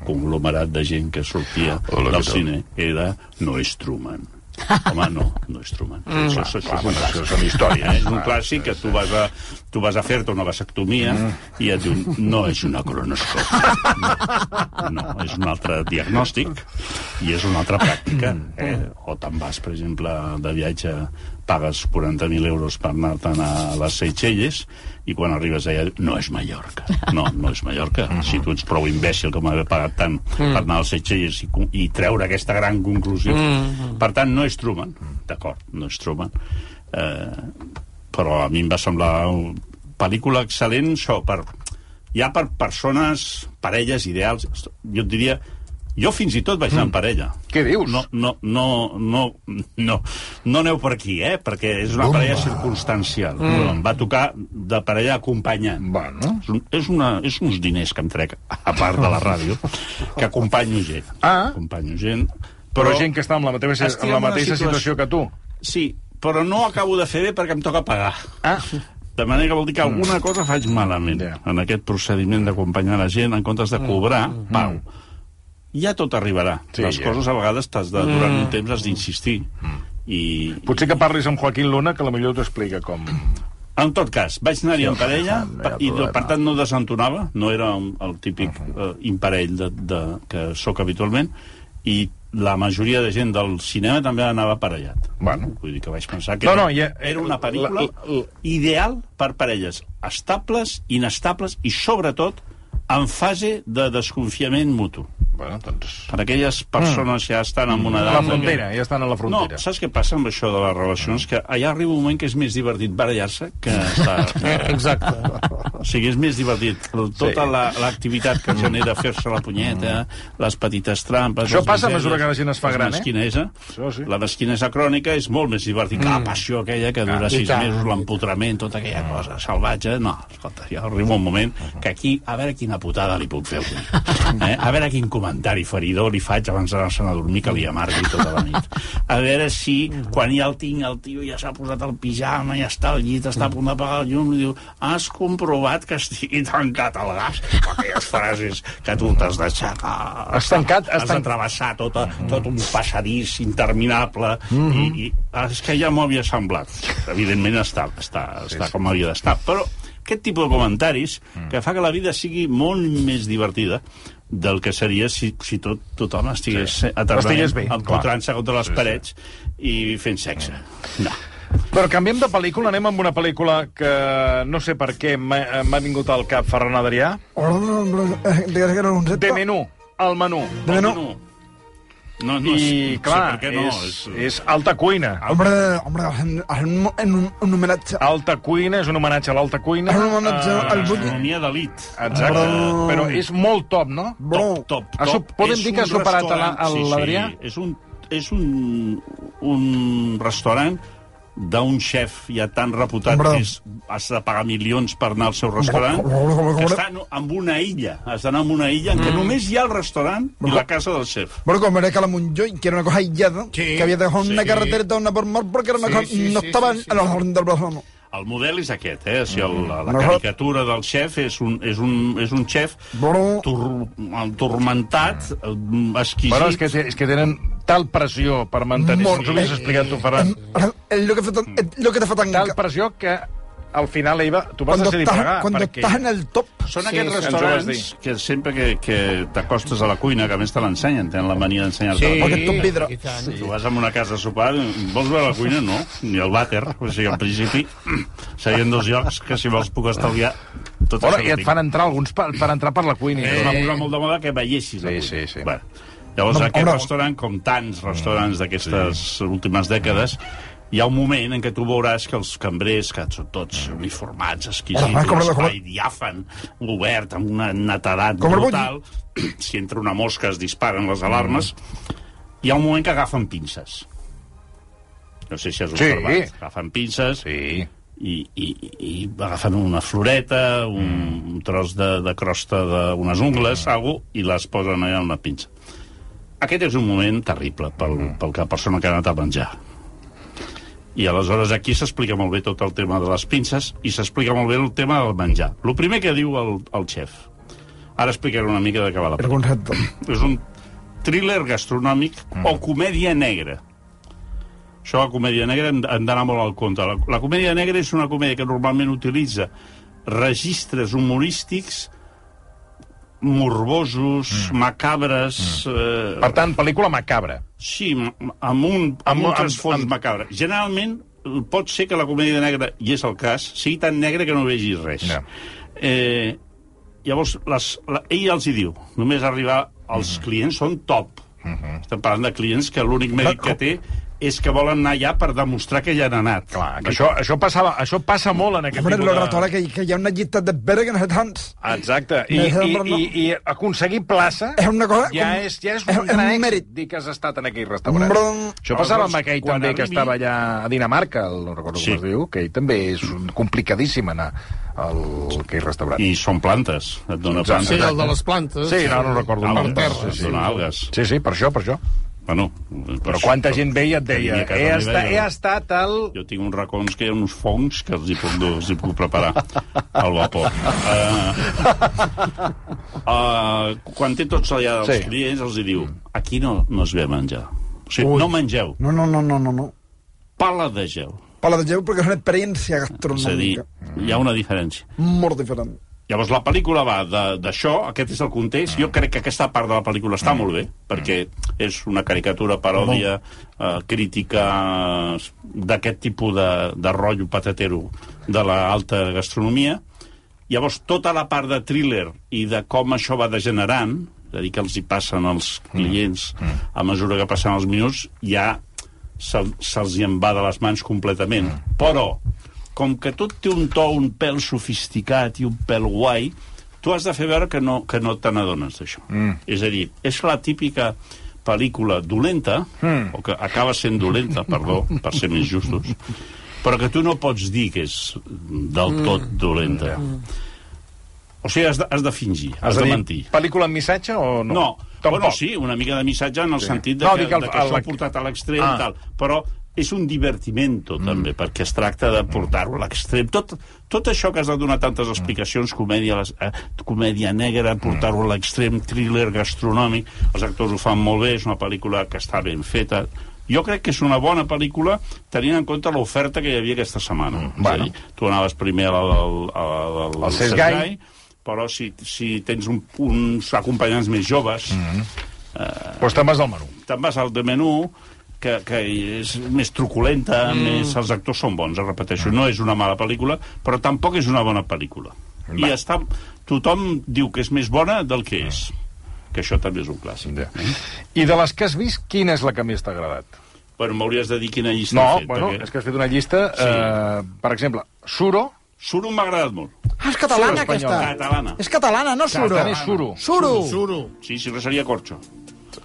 conglomerat de gent que sortia Hola, del què tal? cine. Era, no és Truman. Home, no, no és Truman. Mm, Això, això, això, és un bueno, això clàssic. són històries, Eh, És un clar. clàssic que tu vas a, tu vas a fer-te una vasectomia Mm. i et diu, no és una colonoscòpia. No, no, és un altre diagnòstic i és una altra pràctica. Mm. Eh? O te'n vas, per exemple, de viatge, pagues 40.000 euros per anar-te'n a les Seychelles i quan arribes allà, no és Mallorca. No, no és Mallorca. Si tu ets prou imbècil com haver pagat tant per anar a les Seychelles i, con- i treure aquesta gran conclusió. Per tant, no és Truman. D'acord, no és Truman. Eh, però a mi em va semblar una pel·lícula excel·lent, això, per, ja per persones, parelles ideals, jo et diria, jo fins i tot vaig anar en parella. Què dius? No, no, no, no, no, no aneu per aquí, eh? perquè és una parella circumstancial. Mm. Em va tocar de parella acompanyant. Bueno. És, un, és, una, és uns diners que em trec, a part de la ràdio, que acompanyo gent. Ah. Acompanyo gent. Però, però gent que està en la mateixa, estic en la en una mateixa situació situació que tu. Sí, però no acabo de fer bé perquè em toca pagar. Ah, De manera que vol dir que alguna cosa faig malament Mm. Ja. en aquest procediment d'acompanyar la gent en comptes de Mm. cobrar, pau. Ja tot arribarà. Sí, Les ja. coses a vegades t'has de, durant Mm. un temps has d'insistir. I, potser que parlis amb Joaquín Luna, que la millor t'ho explica com... En tot cas, vaig anar-hi en parella no hi ha i, problema. per tant, no desentonava, no era un- el típic eh, imparell de, de, que sóc habitualment, i la majoria de gent del cinema també anava aparellat. Bueno. Vull dir que vaig pensar que No, era, no, ja- era una pel·lícula la- la- ideal per parelles estables, inestables i, sobretot, en fase de desconfiament mutu. Bueno, doncs... Per aquelles Mm. persones que ja estan en una A edat... la en què- frontera, ja estan a la frontera. Mm. no, saps què passa amb això de les relacions? Que allà arriba un moment que és més divertit barallar-se que estar... Exacte. O sigui, és més divertit. Tota la- l'activitat que genera fer-se la punyeta, les petites Mm. trampes... Això les passa a misèries, mesura que la gent es fa les gran, eh? mesquinesa. Això sí. Mm. Ah, La mesquinesa crònica és molt més divertit que la passió aquella que dura sis mesos, l'empotrament, tota aquella cosa salvatge. No, escolta, ja arriba un moment Ah. que aquí, a veure quina putada li puc fer avui. Eh? A veure quin comentari feridor li faig abans d'anar-se'n a dormir que li amargui tota la nit. A veure si, quan ja el tinc, el tio ja s'ha posat el pijama, ja està al llit, està a punt d'apagar el llum, li diu, has comprovat que estigui tancat el gas? Aquelles frases que tu t'has deixat... ah, Has tancat- has Has tancat- de travessar tot, tot un passadís interminable Mhm. i, i és que ja m'ho havia semblat evidentment està, està, està com havia d'estar però aquest tipus de comentaris Mm. que fa que la vida sigui molt més divertida del que seria si, si tot, tothom estigués sí. Estigués bé, eternament clar. empotrant-se contra les parets i fent sexe. Mm. No. Però canviem de pel·lícula, anem amb una pel·lícula que no sé per què m'ha m'ha vingut al cap Ferran Adrià. eh, De menú, el menú. De menú. No, no, no I, sé clar, per què no, és, és alta cuina. Hombre, hombre, en, en, en un, un homenatge... Alta cuina és un homenatge a l'alta cuina. És un homenatge Eh, al bu- gastronomia d'elit. Exacte. Bro. Però és molt top, no? Top, top, Ha top. sup- podem És dir que un ha superat a la- restaurant- a l'Adrià? Sí, sí. És un, és un, un restaurant d'un xef ja tan reputat Hombre. que és, has de pagar milions per anar al seu restaurant, Hombre, hombre, que hombre. està no, en una illa. Has d'anar en una illa en Mm. què només hi ha el restaurant i la casa del xef. Bueno, como era Calamunjoy, que era una cosa aillada, Sí, que había dejado una sí. carretera toda una por mar porque a lo Sí, mejor sí, no sí, estaban sí, sí. a los orden del verano. El model és aquest, eh? O sigui, el, Mm. la, la Hombre. caricatura del xef és un, és un, és un xef Bro. tur, turmentat, eh, exquisit... Bueno, és que, té- és que tenen tal pressió per mantenir... Molt Ens ho havies bé. explicat tu, Ferran. Es lo que, fue tan- es lo que te fue tan... Tal pressió que al final, Eva, tu vas Cuando decidir pagar. estás, cuando perquè... estás en el top, Són Sí, sí, sí, ens aquests ho vas restaurants dir. que sempre que, que t'acostes a la cuina, que a més te l'ensenyen, tenen la mania d'ensenyar-te Sí. Oh, la porque tú un vidrio. Sí. Tu vas a una casa a sopar, vols veure la cuina? No, ni el vàter. O sigui, en principi, serien dos llocs que si vols puc estalviar tota tot Hola, això. I et fan entrar alguns per, per entrar per la cuina. Eh, es va posar molt de moda que veiessis la Sí, cuina. sí, sí. Mm. Bueno, llavors, No, aquest home. restaurant, com tants restaurants d'aquestes últimes dècades, hi ha un moment en què tu veuràs que els cambrers, que són tots Mm. uniformats, exquisits, Home, com un la- com la- espai diàfan, obert, amb una netedat Com el brutal, si entra una mosca es disparen les alarmes, Mm. hi ha un moment que agafen pinces. No sé si has Sí. observat. Agafen pinces, Sí. i, i, i agafen una floreta, un, mm. un tros de, de crosta d'unes ungles, mm. algo, i les posen allà en la pinça. Aquest és un moment terrible pel, mm. pel que la persona que ha anat a menjar. I aleshores aquí s'explica molt bé tot el tema de les pinces i s'explica molt bé el tema del menjar. El primer que diu el, el xef. Ara explicaré una mica de què va la El concepte. és un thriller gastronòmic mm. o comèdia negra. Això, la comèdia negra, hem, hem d'anar molt al compte. La, la comèdia negra és una comèdia que normalment utilitza registres humorístics morbosos, mm. macabres... Mm. Eh, Per tant, pel·lícula macabra. Sí, m- m- amb un, amb, Amb- amb un amb- transfons amb- macabre. Generalment, eh, pot ser que la comèdia negra, i és el cas, sigui tan negra que no vegis res. Ja. Eh, llavors, les, la, ell els hi diu, només arribar als Mhm. clients són top. Estem parlant de clients que l'únic mèrit que té és que volen anar allà per demostrar que ja han anat. Clar, que això, això, passava, això passa molt en aquest Hombre, tipus de... l'oratòria, que, que hi ha una llista de Bergen Headhunts. Exacte. I, Deixa de i, parlar. i, I aconseguir plaça És una cosa ja, com- és, ja és és un un gran èxit mèrit. dir que has estat en aquell restaurant. Brum. Això passava amb Aleshores, aquell quan també que arribi- estava allà a Dinamarca, el, no recordo sí. Sí. com es diu, que ell també és un, complicadíssim anar al aquell restaurant. I són plantes, et dona Exacte. Sí, plantes. el de les plantes. Sí, no, no recordo el Algues, nom. terra, et dona algues. Sí, sí, per això, per això. Bueno, Però quanta gent veia et deia, Tenia que he, tenir esta, veia. he estat al... Jo tinc uns racons que hi ha uns fongs que els hi puc, dur, els hi puc preparar al vapor. Uh, uh, quan té tots allà els Sí. sí. clients, els hi diu, aquí no, no es ve a menjar. O sigui, Ui. no mengeu, No, no, no, no, no. no. paladegeu. Paladegeu perquè és una experiència És a dir, gastronòmica. hi ha una diferència. Molt diferent. Llavors, la pel·lícula va de- d'això, aquest és el context. Jo crec que aquesta part de la pel·lícula està molt bé, perquè és una caricatura, paròdia, eh, crítica eh, d'aquest tipus de, de rotllo patatero de l'alta gastronomia. Llavors, tota la part de thriller i de com això va degenerant, és a dir, que els hi passen als clients a mesura que passen els minuts, ja se'l- se'ls hi en va de les mans completament. Però, com que tot té un to un pèl sofisticat i un pèl guai, tu has de fer veure que no, que no te n'adones d'això. Mm. És a dir, és la típica pel·lícula dolenta, mm. o que acaba sent dolenta, perdó, per ser més justos, però que tu no pots dir que és del tot dolenta. Mm. O sigui, has de, has de fingir, has, has de, dir, mentir. pel·lícula amb missatge o no? No, Tampoc. bueno, sí, una mica de missatge en el sí. sentit de No, no, que, dic el- de que això el- ho ha portat a l'extrem Ah. ah. tal, però és un divertimento, mm. també, perquè es tracta de portar-ho a l'extrem. Tot, tot això que has de donar Mm. tantes explicacions, comèdia, les, eh, comèdia negra, portar-ho a l'extrem, thriller gastronòmic, els actors ho fan molt bé, és una pel·lícula que està ben feta. Jo crec que és una bona pel·lícula tenint en compte l'oferta que hi havia aquesta setmana. Mm. bueno. És a dir, tu anaves primer al, al, al, al, Al al Sesgai. Sesgai, però si, si tens un, uns acompanyants més joves, mm -hmm Mm-hmm. Pues te'n vas al menú. te'n vas al de menú que, que és més truculenta, mm. més, els actors són bons, eh, repeteixo. Mm. No és una mala pel·lícula, però tampoc és una bona pel·lícula. I està, tothom diu que és més bona del que Mm. és. Que això també és un clàssic. Ja. I de les que has vist, quina és la que més t'ha agradat? Bueno, m'hauries de dir quina llista No, he fet. bueno, perquè... és que has fet una llista, Sí. eh, per exemple, Suro, Suro m'ha agradat molt. Ah, és catalana, Suro espanyola. aquesta. Catalana. És catalana, no suro. Catalana és suro. Suro. Suro. Sí, si no seria Corcho.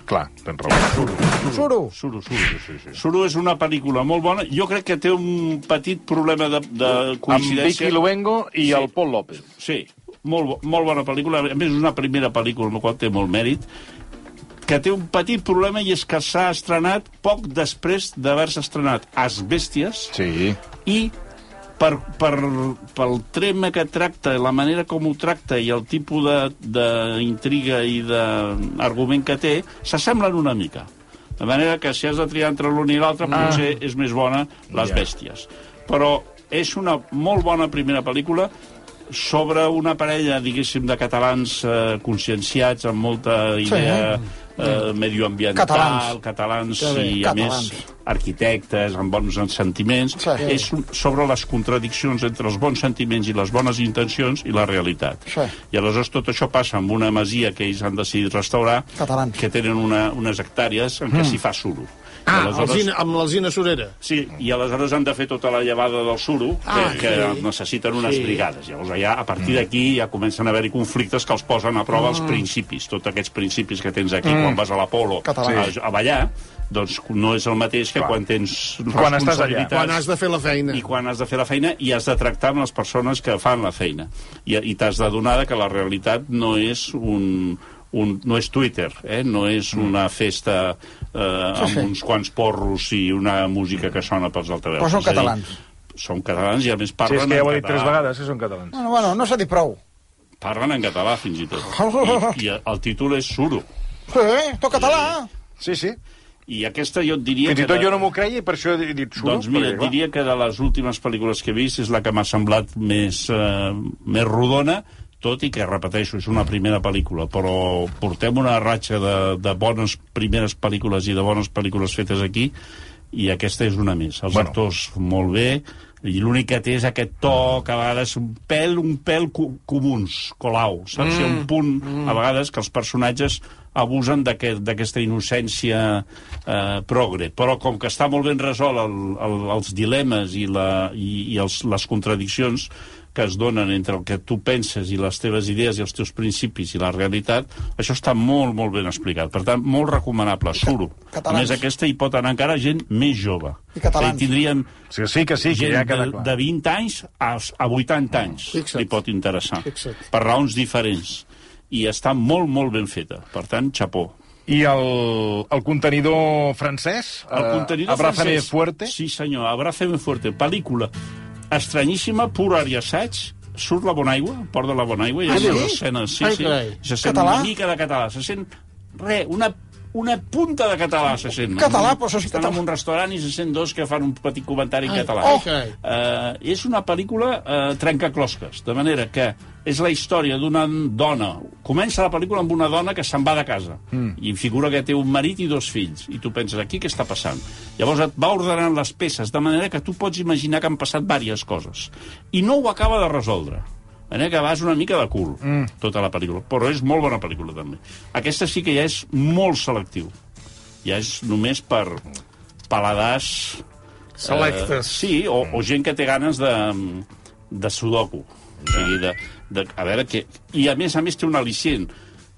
clar, tens raó. Suro. Suro, Suro. Sí, sí, sí. Suro és una pel·lícula molt bona. Jo crec que té un petit problema de, de Amb coincidència... Vicky Luengo i Sí. el Pol López. Sí, molt, bo- molt bona pel·lícula. A més, és una primera pel·lícula, el qual té molt mèrit, que té un petit problema i és que s'ha estrenat poc després d'haver-se estrenat As Bèsties Sí. i per, per, pel trema que tracta, la manera com ho tracta i el tipus d'intriga i d'argument que té, s'assemblen una mica. De manera que si has de triar entre l'un i l'altre, ah. potser és més bona Les Ja. Bèsties. Però és una molt bona primera pel·lícula sobre una parella, diguéssim, de catalans eh, conscienciats, amb molta idea sí. eh, medioambiental, Mm. Catalans. catalans Que bé, i, a catalans. més, arquitectes, amb bons sentiments. Sí. És un- sobre les contradiccions entre els bons sentiments i les bones intencions i la realitat. Sí. I aleshores tot això passa amb una masia que ells han decidit restaurar, Catalans. Mm. que tenen una, unes hectàrees en què s'hi fa suro. Ah, Aleshores- alzina, amb l'alzina Sorera. Sí, i aleshores han de fer tota la llevada del suro, que, Ah, que sí. necessiten unes brigades. Llavors, allà, a partir Mm. d'aquí, ja comencen a haver-hi conflictes que els posen a prova Mm. els principis, tots aquests principis que tens aquí quan vas a l'Apolo a, Català. a ballar, doncs no és el mateix que quan tens Quan estàs allà. responsabilitats Quan has de fer la feina. i quan has de fer la feina i has de tractar amb les persones que fan la feina. I, i t'has d'adonar que la realitat no és un un, no és Twitter, eh? no és Mm. una festa eh, amb uns quants porros i una música que sona pels altaveus. Però són És a dir, catalans. Són catalans i a més Sí, parlen és que ja ho en he dit català. tres vegades, que són catalans. Bueno, bueno, no s'ha dit prou. Parlen en català, fins i tot. I, i el títol és Suro. Eh, tot català. Sí, sí. I aquesta jo et diria... Fins i que tot de- jo no m'ho creia i per això he dit suro. Doncs mira, perquè, et clar, diria que de les últimes pel·lícules que he vist és la que m'ha semblat més, eh, més rodona, tot i que, repeteixo, és una primera pel·lícula, però portem una ratxa de, de bones primeres pel·lícules i de bones pel·lícules fetes aquí, i aquesta és una més. Bueno. Els bueno. actors molt bé, i l'únic que té és aquest to que a vegades un pèl, un pèl co comuns, colau, saps? Mm. Hi ha un punt, a vegades, que els personatges abusen d'aquest- d'aquesta innocència eh, progre. Però com que està molt ben resolt el, el, els dilemes i, la, i, i els, les contradiccions que es donen entre el que tu penses i les teves idees i els teus principis i la realitat, això està molt, molt ben explicat. Per tant, molt recomanable, suro. A catalans. més, aquesta hi pot anar encara gent més jove. I O catalans. sigui, tindríem Sí, sí que sí, que gent ja de, queda clar. de 20 anys a, a 80 anys Fixa't. li pot interessar. Fixa't. Per raons diferents. I està molt, molt ben feta. Per tant, xapó. I el, el contenidor francès? El eh, contenidor Abrázame francès. fuerte? Sí, senyor, Abrázame fuerte. Pel·lícula estranyíssima, pura i assaig. Surt la bona aigua, port de la bona aigua, i Ah, hi ha sí? una escena. Sí, Ai, sí. carai. Se sent Català? una mica de català. Se sent, re, una una punta de català se sent. Català, però això és Estan català. en un restaurant i se sent dos que fan un petit comentari en Ai, català. oh! Carai. Eh, és una pel·lícula eh, trencaclosques, de manera que és la història d'una dona. Comença la pel·lícula amb una dona que se'n va de casa mm. i figura que té un marit i dos fills. I tu penses, aquí què està passant? Llavors et va ordenant les peces, de manera que tu pots imaginar que han passat diverses coses. I no ho acaba de resoldre. De manera que vas una mica de cul, mm. tota la pel·lícula. Però és molt bona pel·lícula, també. Aquesta sí que ja és molt selectiu. Ja és només per paladars Selectes. Eh, sí, o, Mm. o gent que té ganes de, de sudoku. O sigui, de, de, a veure què... I a més a més té un al·licient.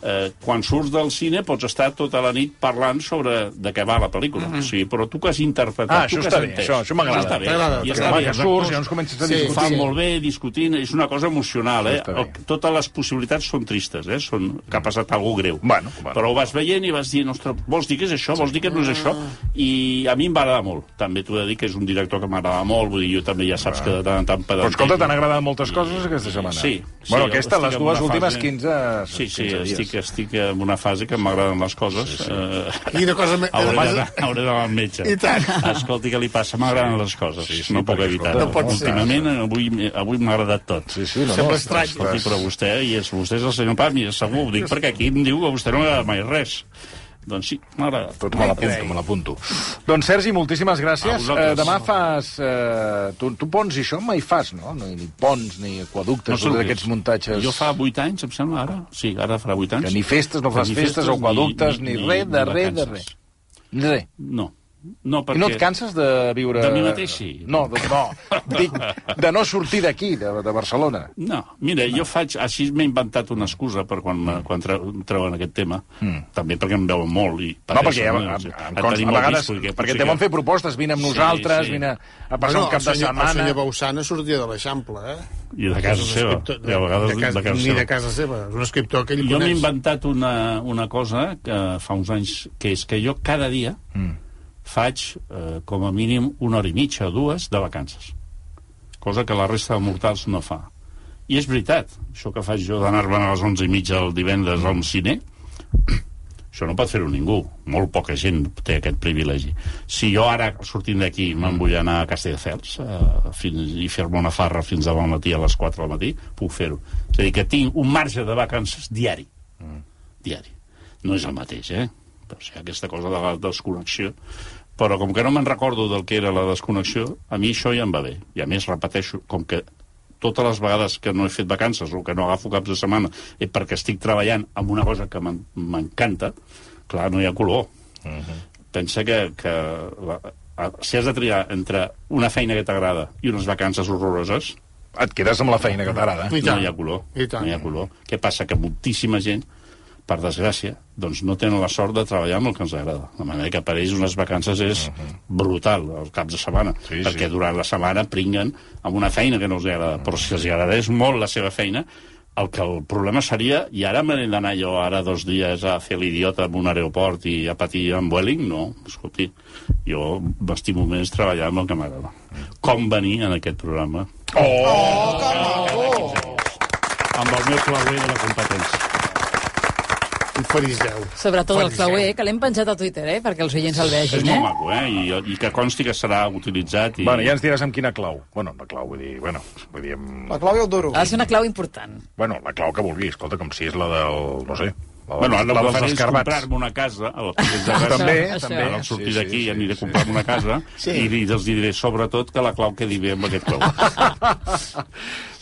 Eh, quan surts del cine pots estar tota la nit parlant sobre de què va la pel·lícula. Mm -hmm. o sigui, però tu que has interpretat, Mm-hmm. Ah, tu això que està has bé, entès. això- això m'agrada. Està bé. T'agrada, I està t'agrada. bé, que els surts actors i llavors comences a Sí, ho discutir. fan molt bé, discutint, és una cosa emocional, eh? Està bé. El- Totes les possibilitats són tristes, eh? Són que ha passat alguna greu. Bueno, bueno. Però ho vas veient i vas dir, ostres, vols dir que és això, vols dir que no és això? I a mi em va agradar molt. També t'ho he de dir que és un director que m'agrada molt, vull dir, jo també ja saps que de tant en tant Però pedantejo. escolta, t'han agradat moltes coses aquesta setmana. Sí, sí, bueno, jo aquesta, estic les en dues una últimes fase- 15, Sí, sí, 15 dies. estic, estic en una fase que m'agraden les coses. Sí, sí. Eh, Quina cosa me- Hauré Vas- d'anar hauré d'anar al metge. I tant. Escolti, què li passa? M'agraden les coses. Sí, sí, no puc perquè, evitar-ho. escolta, no pot ser. Últimament, avui, avui m'ha agradat tot. Sí, sí, no, Sembla no, estrany. Escolti, però vostè, i és, vostè és el senyor Pami, és segur, ho dic perquè aquí em diu que a vostè no m'agrada mai res. Doncs sí, m'ha agradat. Tot me l'apunto, me l'apunto. Doncs, Sergi, moltíssimes A gràcies. vosaltres. Eh, demà fas... Eh, tu, tu ponts i això mai fas, no? no ni ponts, ni aquaductes, sé no el que d'aquests és. muntatges... Jo fa 8 anys, em sembla, ara. Sí, ara farà 8 anys. Que ni festes, no fas Que ni festes, o aquaductes, ni res, de res, de vacances. res. Res. No. No, I perquè... no et canses de viure... De mi mateix, sí. No, de, no. Dic, de no sortir d'aquí, de, de Barcelona. No, mira, jo faig... Així m'he inventat una excusa per quan, mm. quan tre- treuen aquest tema. Mm. També perquè em veuen molt i No, perquè ja, pateixen, a, no? a, Sí. a, Et a, tenim a molt vegades... vistos, que Perquè potser te van que- fer propostes, vine amb Sí, nosaltres, sí. vine a, a passar Bueno, un cap el de senyor- El setmana... senyor Bausana sortia de l'Eixample, eh? I de casa És un seva. escriptor- I a vegades de casa, de casa ni seva. de casa seva. És un escriptor que ell Jo m'he coneix. inventat una, una cosa que fa uns anys, que és que jo cada dia mm. faig eh, com a mínim una hora i mitja o dues de vacances. Cosa que la resta de mortals no fa. I és veritat, això que faig jo d'anar-me'n a les 11 i mitja el divendres al cine, això no pot fer-ho ningú. Molt poca gent té aquest privilegi. Si jo ara, sortint d'aquí, me'n vull anar a Castelldefels eh, fins, i fer-me una farra fins demà al matí a les 4 del matí, puc fer-ho. És a dir, que tinc un marge de vacances diari. Diari. No és el mateix, eh? O sigui, aquesta cosa de la desconnexió. Però com que no me'n recordo del que era la desconnexió, a mi això ja em va bé. I a més, repeteixo, com que totes les vegades que no he fet vacances o que no agafo caps de setmana és perquè estic treballant amb una cosa que m'en- m'encanta, clar, no hi ha color. Uh -huh. Pensa que, que la, a- si has de triar entre una feina que t'agrada i unes vacances horroroses, Et quedes amb la feina que t'agrada. I tant. no hi ha color. I tant. No hi ha color. Què passa? Que moltíssima gent, per desgràcia, doncs no tenen la sort de treballar amb el que ens agrada. De manera que per ells unes vacances és brutal, els caps de setmana. Sí, perquè sí. durant la setmana pringuen amb una feina que no els agrada. Però si els agradés molt la seva feina, el que el problema seria, i ara m'he d'anar jo ara dos dies a fer l'idiota en un aeroport i a patir amb Welling, no, escolti, jo m'estimo més treballar amb el que m'agrada. Com venir en aquest programa amb el meu clauer de la competència. I faris 10. Sobretot el Faris clauer, que l'hem penjat a Twitter, eh? perquè els oients el És vegin. molt Eh? maco, eh? I, I que consti que serà utilitzat. I... Bueno, ja ens diràs amb quina clau. Bueno, la clau, vull dir... Bueno, vull dir amb... La Clàudia el duro. Ha de ser una clau important. Bueno, la clau que vulgui, escolta, com si és la del... no sé... La, Bueno, la ara el que dels faré és escarbats. comprar-me una casa, a la Torrent de Gràcia. També, Això, també. Ara al sortir Sí, sí, d'aquí sí, sí, aniré sí. a comprar-me una casa sí. i, i els diré sobretot que la clau quedi bé amb aquest clau.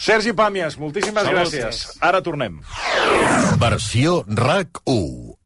Sergi Pàmies, moltíssimes Salut. gràcies. Ara tornem. Versió RAC 1.